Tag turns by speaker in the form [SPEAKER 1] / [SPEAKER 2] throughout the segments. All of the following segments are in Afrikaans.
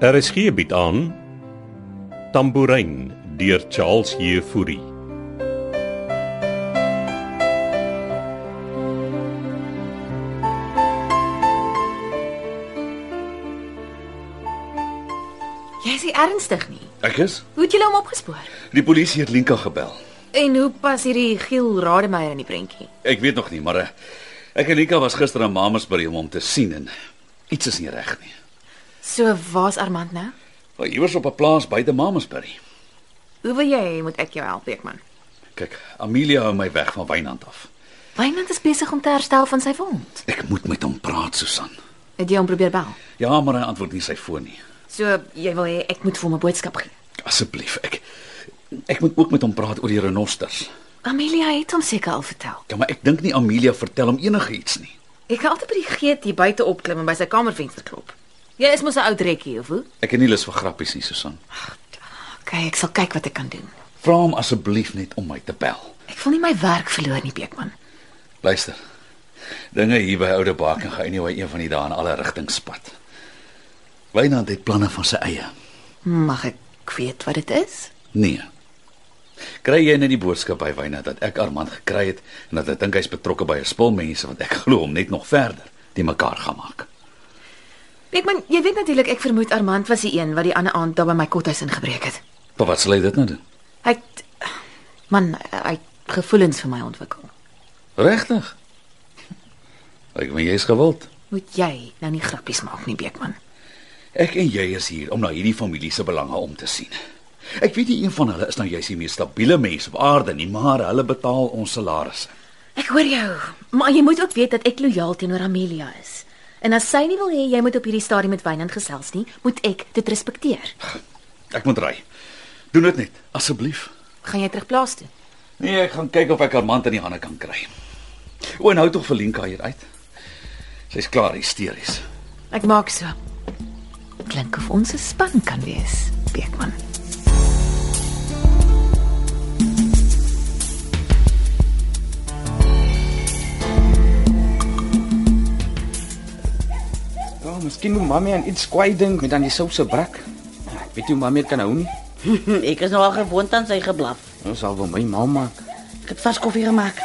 [SPEAKER 1] RSG bied Er aan Tambourin deur Charles Jefouri.
[SPEAKER 2] Jy is nie ernstig nie.
[SPEAKER 3] Ek is.
[SPEAKER 2] Hoe het julle hom opgespoor?
[SPEAKER 3] Die polisie het Linka gebel.
[SPEAKER 2] En hoe pas hierdie Giel Rademeier in die prentjie?
[SPEAKER 3] Ek weet nog nie, maar eh, ek en Linka was gister aan Mamasbury om hom te sien en iets is nie reg nie.
[SPEAKER 2] So waar's Armand nou?
[SPEAKER 3] Maar iewers op 'n plaas buite Mamasbury.
[SPEAKER 2] Hoe wil jy moet ek jou help, Beekman?
[SPEAKER 3] Kyk, Amelia hou my weg van Wynand af.
[SPEAKER 2] Wynand is besig om te herstel van sy wond.
[SPEAKER 3] Ek moet met hom praat, Susan.
[SPEAKER 2] Het jy hom probeer bel?
[SPEAKER 3] Ja, maar hy antwoord nie sy foon nie.
[SPEAKER 2] So jy wil hê ek moet vir hom 'n boodskap gee.
[SPEAKER 3] Asseblief, ek ek moet ook met hom praat oor die renosters.
[SPEAKER 2] Amelia het hom seker al vertel.
[SPEAKER 3] Ja, maar ek dink nie Amelia vertel hom enigiets nie.
[SPEAKER 2] Ek kan altyd by die geet hier buite opklim en by sy kamervenster klop. Jy is mos 'n ou trekkie of hoe?
[SPEAKER 3] Ek het nie lus vir grappies nie, Susan.
[SPEAKER 2] Okay, ek sal kyk wat ek kan doen.
[SPEAKER 3] Vra hom asseblief net om my te bel.
[SPEAKER 2] Ek wil nie my werk verloor nie, Beekman.
[SPEAKER 3] Luister. Dinge hier by Oude Baak en gaan anyway een van die dae in alle rigtings spat. Wynand het planne van sy eie.
[SPEAKER 2] Mag ek weet wat dit is?
[SPEAKER 3] Nee. Kry jy net die boodskap by Wynand dat ek Armand gekry het en dat hy dink hy's betrokke by 'n spul mense wat ek glo hom net nog verder die mekaar gaan maak.
[SPEAKER 2] Beekman, jy weet natuurlik ek vermoed Armand was die een wat die ander aand daar by my kothuis ingebreek het.
[SPEAKER 3] Maar wat sal hy dit nou doen?
[SPEAKER 2] Hy het, man, hy het gevoelens vir my ontwikkel.
[SPEAKER 3] Regtig? Ek meen jy's gewild.
[SPEAKER 2] Moet jy nou nie grappies maak nie, Beekman.
[SPEAKER 3] Ek en jy is hier om na hierdie familie se belange om te sien. Ek weet nie een van hulle is nou juis die mees stabiele mense op aarde nie, maar hulle betaal ons salarisse.
[SPEAKER 2] Ek hoor jou, maar jy moet ook weet dat ek lojaal teenoor Amelia is. En as sy nie wil hê jy moet op hierdie stadium met Wynand gesels nie, moet ek dit respekteer.
[SPEAKER 3] Ek moet ry. Doen dit net, asseblief.
[SPEAKER 2] Gaan jy terug plaas toe?
[SPEAKER 3] Nee, ek gaan kyk of ek Armand in die hande kan kry. O, en hou tog vir Lenka hier uit. Sy's klaar hysteries.
[SPEAKER 2] Ek maak so. Klink of ons 'n span kan wees, Beekman.
[SPEAKER 4] Ja, miskien moet mami aan iets kwaai dink met aan die souse brak. Ek weet nie hoe mami dit kan hou nie.
[SPEAKER 5] Ek Hm, is nogal gewoond aan sy geblaf.
[SPEAKER 4] Ons sal wel my ma maak.
[SPEAKER 5] Ek het vas koffie gemaak.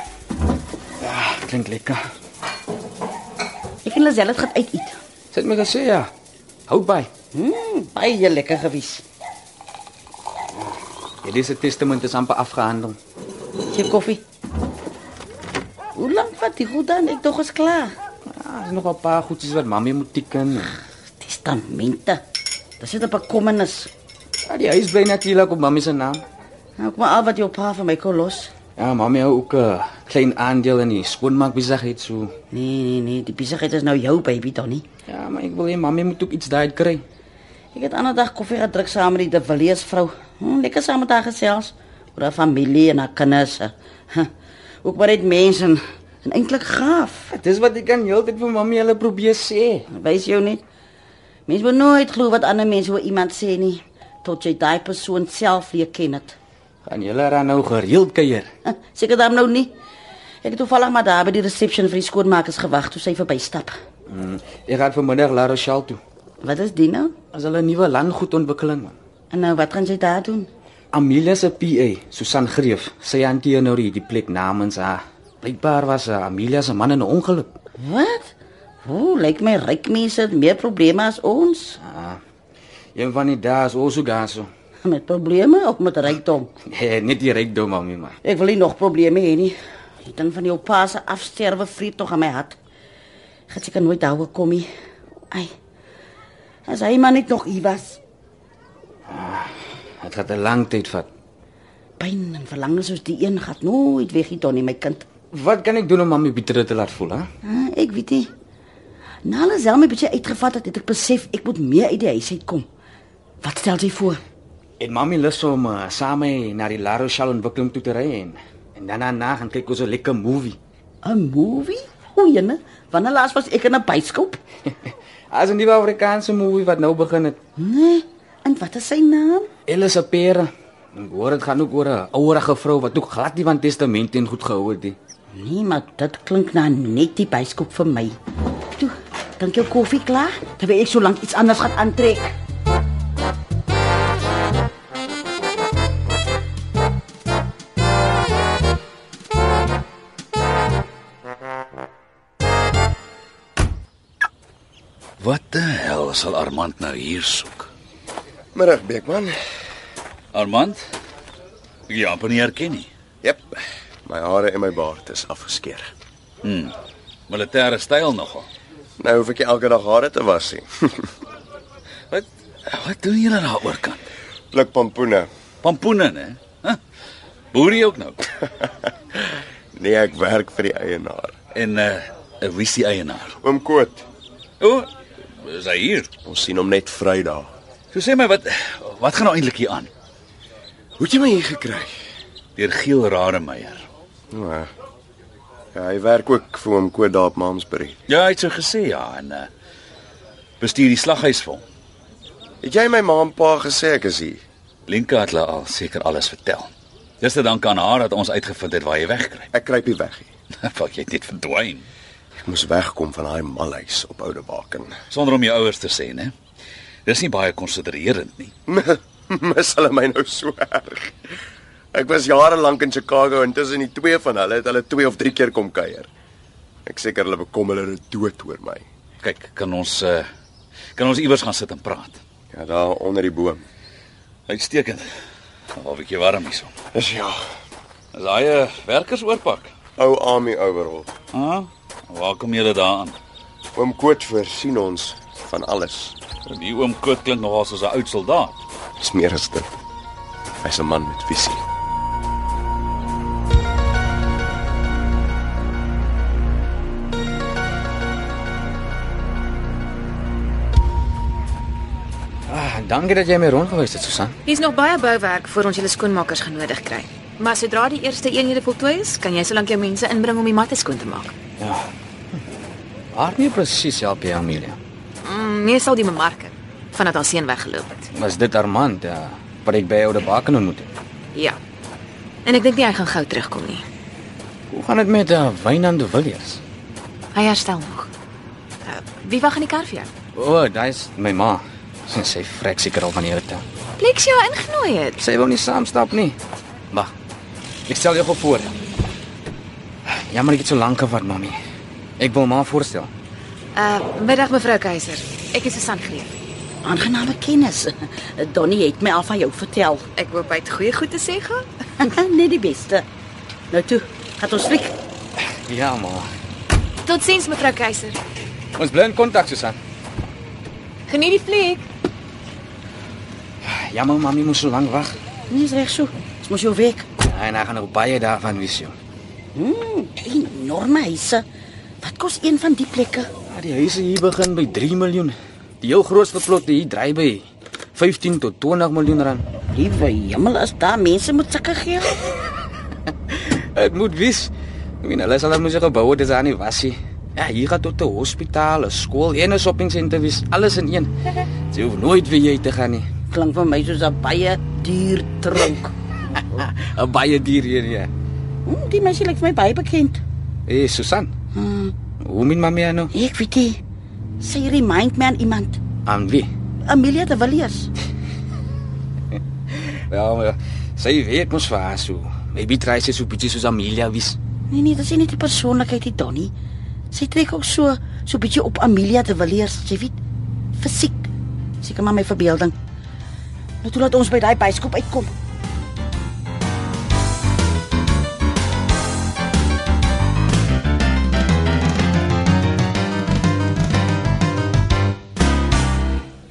[SPEAKER 4] Ja, klink lekker.
[SPEAKER 5] Ek en Lazelle het gaan uit eet.
[SPEAKER 4] Sy het my gesê ja. Hou by.
[SPEAKER 5] Mm, baie lekker gewees.
[SPEAKER 4] Hierdie se testament is amper afgehandel.
[SPEAKER 5] Sy koffie. Hoe lank vat die goed dan? Ek dog is klaar.
[SPEAKER 4] Ja, is nog 'n paar goedjies wat mami moet teken.
[SPEAKER 5] Testamente. Dit sit op 'n kommenis.
[SPEAKER 4] Ja, die huis bly natuurlik op mami se naam.
[SPEAKER 5] Nou kom maar al wat jou pa vir my kon los.
[SPEAKER 4] Ja, mami hou ook 'n klein aandeel in die skoonmaakbesigheid so.
[SPEAKER 5] Nee, nee, nee, die besigheid is nou jou baby, Donnie.
[SPEAKER 4] Ja, maar ek wil hê mami moet ook iets daai kry.
[SPEAKER 5] Ek het ander dag koffie gedrink saam met die De Villiers vrou. Hm, lekker saam met haar gesels oor haar familie en haar kinders. Huh, Ook maar net mense en, en eintlik gaaf.
[SPEAKER 4] Dis wat ek kan heeltyd vir mami hulle probeer sê.
[SPEAKER 5] Wys jou net. Mens moet nooit glo wat ander mense oor iemand sê nie tot jy daai persoon self leer ken dit.
[SPEAKER 4] Gaan julle dan nou gereeld kuier?
[SPEAKER 5] Seker dan nou nie. Ek het toevallig maar daar by die reception vir die skoonmakers gewag toe sy verbystap.
[SPEAKER 4] Mm, ek gaan vanmiddag La Rochelle toe.
[SPEAKER 5] Wat is dit nou?
[SPEAKER 4] As hulle 'n nuwe landgoedontwikkeling man.
[SPEAKER 5] En nou wat gaan sy daar doen?
[SPEAKER 4] Amelia se PA, Susan Greef, sy hanteer nou die plek namens haar. Blykbaar was eh, Amelia se man in 'n ongeluk.
[SPEAKER 5] Wat? Hoe lyk my ryk mense het meer probleme as ons?
[SPEAKER 4] Ah, een van die dae is ons ook daar so.
[SPEAKER 5] Met probleme of met rykdom?
[SPEAKER 4] Nee, net die rykdom mami maar.
[SPEAKER 5] Ek wil nie nog probleme hê nie. Ek dink van jou pa se afsterwe vreet tog aan my hart. Gaan seker nooit daaroor kom nie. Ai. As hy maar net nog hier was.
[SPEAKER 4] Dit gaan 'n lang tyd vat.
[SPEAKER 5] Pyn en verlange soos die een gaan nooit weg hier dan nie, my kind.
[SPEAKER 4] Wat kan ek doen om mami beter te laat voel, hè?
[SPEAKER 5] Ah, ek weet nie. Nou alles al my bietjie uitgevat het, het ek besef ek moet meer uit die huis uitkom. Wat stel jy voor?
[SPEAKER 4] En mami lus om uh, saam mee na die La Rochelle ontwikkeling toe te ry en en daarna na gaan kyk ons 'n lekker movie.
[SPEAKER 5] 'n Movie? O, jene, wanneer laas was ek in 'n byskoop?
[SPEAKER 4] As 'n nuwe Afrikaanse movie wat nou begin het.
[SPEAKER 5] Nee. En wat is sy naam?
[SPEAKER 4] Ellis se pere. Ek hoor dit gaan ook oor 'n ouerige vrou wat ook glad nie van testamente en goed gehou het nie.
[SPEAKER 5] Nee, maar dit klink na net die byskoop vir my. Toe, dink jou koffie klaar? Terwyl ek so lank iets anders gaan aantrek.
[SPEAKER 3] Wat de hel sal Armand nou hier soek?
[SPEAKER 6] Middag Beekman.
[SPEAKER 3] Armand? Ek het jou amper nie herken nie.
[SPEAKER 6] Jep. My hare en my baard is afgeskeer.
[SPEAKER 3] Militêre styl nogal.
[SPEAKER 6] Nou hoef ek nie elke dag hare te was nie.
[SPEAKER 3] Wat wat doen julle daar oorkant?
[SPEAKER 6] Pluk pampoene.
[SPEAKER 3] Pampoene, hè? Huh? Boer jy ook nou?
[SPEAKER 6] Nee, ek werk vir die eienaar.
[SPEAKER 3] En uh wie is die eienaar?
[SPEAKER 6] Oom Koot.
[SPEAKER 3] O, is hy hier?
[SPEAKER 6] Ons sien hom net Vrydag.
[SPEAKER 3] So sê my wat wat gaan nou eintlik hier aan?
[SPEAKER 6] Hoe het jy my hier gekry?
[SPEAKER 3] Deur Giel Rademeier.
[SPEAKER 6] Nou, eh, Ja, hy werk ook vir oom Koot daar op Mamsbury.
[SPEAKER 3] Ja, hy het so gesê ja en uh bestuur die slaghuis vir hom.
[SPEAKER 6] Het jy my ma en pa gesê ek is hier?
[SPEAKER 3] Linka het hulle al seker alles vertel. Dis te dank aan haar dat ons uitgevind het waar jy wegkry.
[SPEAKER 6] Ek kruip nie weg nie.
[SPEAKER 3] Wat jy het net verdwyn
[SPEAKER 6] Ek moes wegkom van daai malhuis op Oude Baken.
[SPEAKER 3] sonder om jou ouers te sê, né? Dis nie baie konsidererend nie.
[SPEAKER 6] Mis hulle my nou so erg. Ek was jare lank in Chicago en tussen die twee van hulle het hulle twee of drie keer kom kuier. Ek seker hulle bekom hulle nou dood oor my.
[SPEAKER 3] Kyk, kan ons uh kan ons iewers gaan sit en praat.
[SPEAKER 6] Ja, daar onder die boom.
[SPEAKER 3] Uitstekend. Hou ek jou warm hierso.
[SPEAKER 6] Dis ja,
[SPEAKER 3] Is daai 'n werkersoorpak?
[SPEAKER 6] ou Army overall.
[SPEAKER 3] Ah, waar kom julle daaraan?
[SPEAKER 6] Oom Koot voorsien ons van alles.
[SPEAKER 3] Die oom Koot klink nogal soos 'n oud soldaat.
[SPEAKER 6] Dis meer as dit. Hy's 'n man met visie.
[SPEAKER 4] Ah, dankie dat jy my rondgewys het, Susan.
[SPEAKER 2] Hier's nog baie bouwerk voor ons julle skoonmakers genodig kry. Maar sodra die eerste eenhede voltooi is, kan jy solank jou mense inbring om die matte skoon te maak.
[SPEAKER 4] Ja. Haar nie presies help jy Amelia.
[SPEAKER 2] Mm, meestal die bemarking vandat haar seun weggeloop het.
[SPEAKER 4] Was dit Armand ja, wat ek by jou te baken ontmoet het?
[SPEAKER 2] Ja. En ek dink nie hy gaan gou terugkom nie.
[SPEAKER 4] Hoe gaan dit met uh, Wynand de Villiers?
[SPEAKER 2] Hy herstel nog. Uh, wie wag in die kar vir jou?
[SPEAKER 4] O, oh, dis my ma. Sy sê vrek seker al van hierdie tyd.
[SPEAKER 2] Plexia ingenooi het.
[SPEAKER 4] Sy wil nie saamstap nie. Wag. Ek stel jou gou voor. Jammer Ja, ek het so lank gevat, mami. Ek wil ma voorstel.
[SPEAKER 2] Uh middag mevrou Keiser. Ek is Susan Greef.
[SPEAKER 5] Aangename kennis. Donnie het my al van jou vertel.
[SPEAKER 2] Ek hoop hy het goeie goed te sê gehad.
[SPEAKER 5] Net die beste. Nou toe, gaan ons fliek.
[SPEAKER 4] Ja, ma.
[SPEAKER 2] Totsiens mevrou Keiser.
[SPEAKER 4] Ons bly in kontak, Susan.
[SPEAKER 2] Geniet die fliek.
[SPEAKER 4] Jammer, mami Ja, moes so lank wag.
[SPEAKER 5] Nee, is reg so. Ons moet jou weg.
[SPEAKER 4] En hy gaan nog baie daarvan wys jou.
[SPEAKER 5] Hmm, enorme huise. Wat kos een van die plekke?
[SPEAKER 4] Ja, die huise hier begin by 3 miljoen. Die heel grootste plot hier dry by 15 tot 20 miljoen rand.
[SPEAKER 5] Liewe hemel, as daar mense moet sulke geld.
[SPEAKER 4] Dit moet wys. Ek meen hulle sal dan moet se gebou het, dis aan die wasie. Ja, hier gaan tot 'n hospitaal, 'n skool en 'n shoppingsentre wees, alles in een. Jy hoef nooit weer hier te gaan nie.
[SPEAKER 5] Klink vir my soos 'n baie duur tronk.
[SPEAKER 4] 'n Baie duur hier, ja.
[SPEAKER 5] Hmm, die meisie lyk vir my baie bekend.
[SPEAKER 4] Hé, hey, Eh, Susan.
[SPEAKER 5] Hmm,
[SPEAKER 4] Hoe min mami nou?
[SPEAKER 5] ek weet nie. Sy remind my aan iemand.
[SPEAKER 4] Aan wie?
[SPEAKER 5] Amelia de Villiers.
[SPEAKER 4] Ja, maar sy weet mos vir haar so. eh, Maybe try sy so bietjie soos Amelia wys.
[SPEAKER 5] Nee nee, dis nie die persoonlikheid die Donnie. Sy trek ook so so bietjie op Amelia de Villiers, jy weet. Fisiek. Seker maar my verbeelding. Nou toe laat ons by daai byskoop uitkom.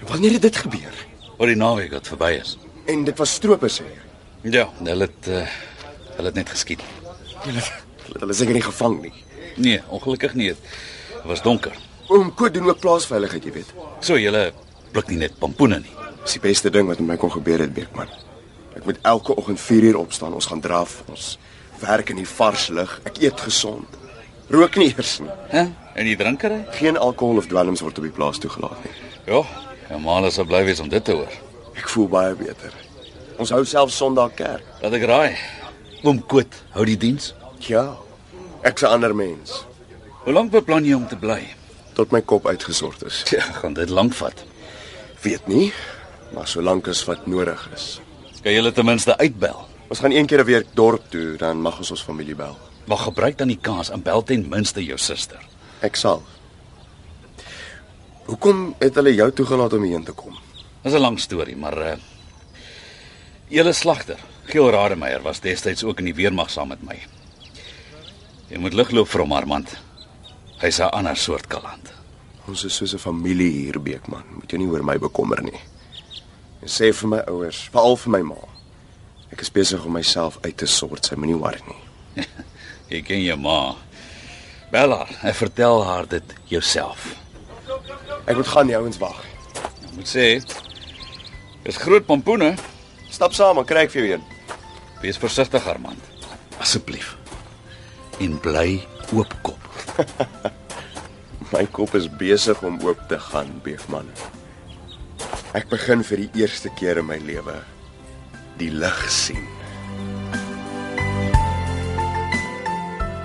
[SPEAKER 6] Wanneer het dit gebeur?
[SPEAKER 3] Oor die naweek wat verby is.
[SPEAKER 6] En dit was strope sê.
[SPEAKER 3] Ja, hulle het uh, hulle het net geskiet.
[SPEAKER 6] Hulle hulle het hulle seker nie gevang nie.
[SPEAKER 3] Nee, ongelukkig nie. Dit was donker.
[SPEAKER 6] Oom Koot doen ook plaasveiligheid, jy weet.
[SPEAKER 3] So julle pluk nie net pampoene nie.
[SPEAKER 6] Dis die beste ding wat met my kon gebeur het, Beekman. Ek moet elke oggend 4uur opstaan. Ons gaan draf. Ons werk in die vars lug. Ek eet gesond. Rook nie eers nie.
[SPEAKER 3] Hæ? En die drinkery?
[SPEAKER 6] Geen alkohol of dwelms word op die plaas toegelaat nie.
[SPEAKER 3] Ja, normaal sou bly wees om dit te hoor.
[SPEAKER 6] Ek voel baie beter. Ons hou self Sondag kerk.
[SPEAKER 3] Laat ek raai. Oom Koot hou die diens.
[SPEAKER 6] Ja. Ek's 'n ander mens
[SPEAKER 3] Hoe lank beplan jy om te bly?
[SPEAKER 6] tot my kop uitgesort is.
[SPEAKER 3] Ja, gaan dit lank vat.
[SPEAKER 6] Weet nie, maar solank as wat nodig is.
[SPEAKER 3] Kan julle ten minste uitbel.
[SPEAKER 6] Ons gaan een keer 'n week dorp toe, dan mag ons ons familie bel.
[SPEAKER 3] Maar gebruik dan die kans en bel ten minste jou suster.
[SPEAKER 6] Ek sal. Hoekom het hulle jou toegelaat om hierheen te kom?
[SPEAKER 3] Dis 'n lang storie, maar uh Julle slagter, Giel Rademeier was destyds ook in die weermag saam met my. Jy moet ligloop vir hom, Armand. Hy's 'n ander soort kaland.
[SPEAKER 6] Ons is soos 'n familie hier, Beekman. Moet jou nie oor my bekommer nie. En sê vir my ouers, veral vir my ma. Ek is besig om myself uit te sort. Sy moenie worry nie.
[SPEAKER 3] Jy ken jou ma. Bel haar en vertel haar dit jouself.
[SPEAKER 6] Ek moet gaan, die ouens wag.
[SPEAKER 3] Ek moet sê, dis groot pompoene.
[SPEAKER 6] Stap saam, dan kry ek vir jou een.
[SPEAKER 3] Wees versigtig, Armand. Asseblief. En bly oopkop.
[SPEAKER 6] My kop is besig om oop te gaan, Beekman. Ek begin vir die eerste keer in my lewe die lig sien.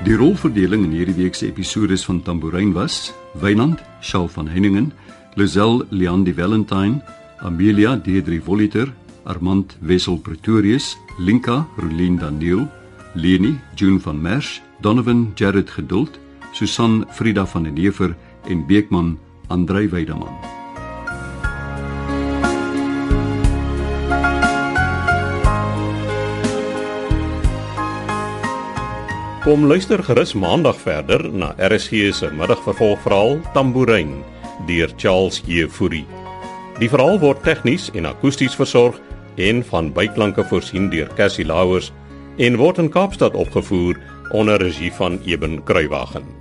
[SPEAKER 1] Die rolverdeling in hierdie week se episode van Tambourin was: Wynand, Shaal van Henningen, Lozel Leon die Valentine, Amelia Deidre Voliter, Armand Wessel Pretorius, Linka Rolien Daniel, Leni June van Merch, Donovan Jared Geduld, Susan Frida van den Heever en Beekman Andrei Weideman. Kom luister gerus maandag verder na RSG se middagvervolgverhaal Tambourin deur Charles Jefouri. Die verhaal word tegnies en akoesties versorg en van byklanke voorsien deur Cassie Lauers en word in Kaapstad opgevoer onder regie van Eben Kruiwagen.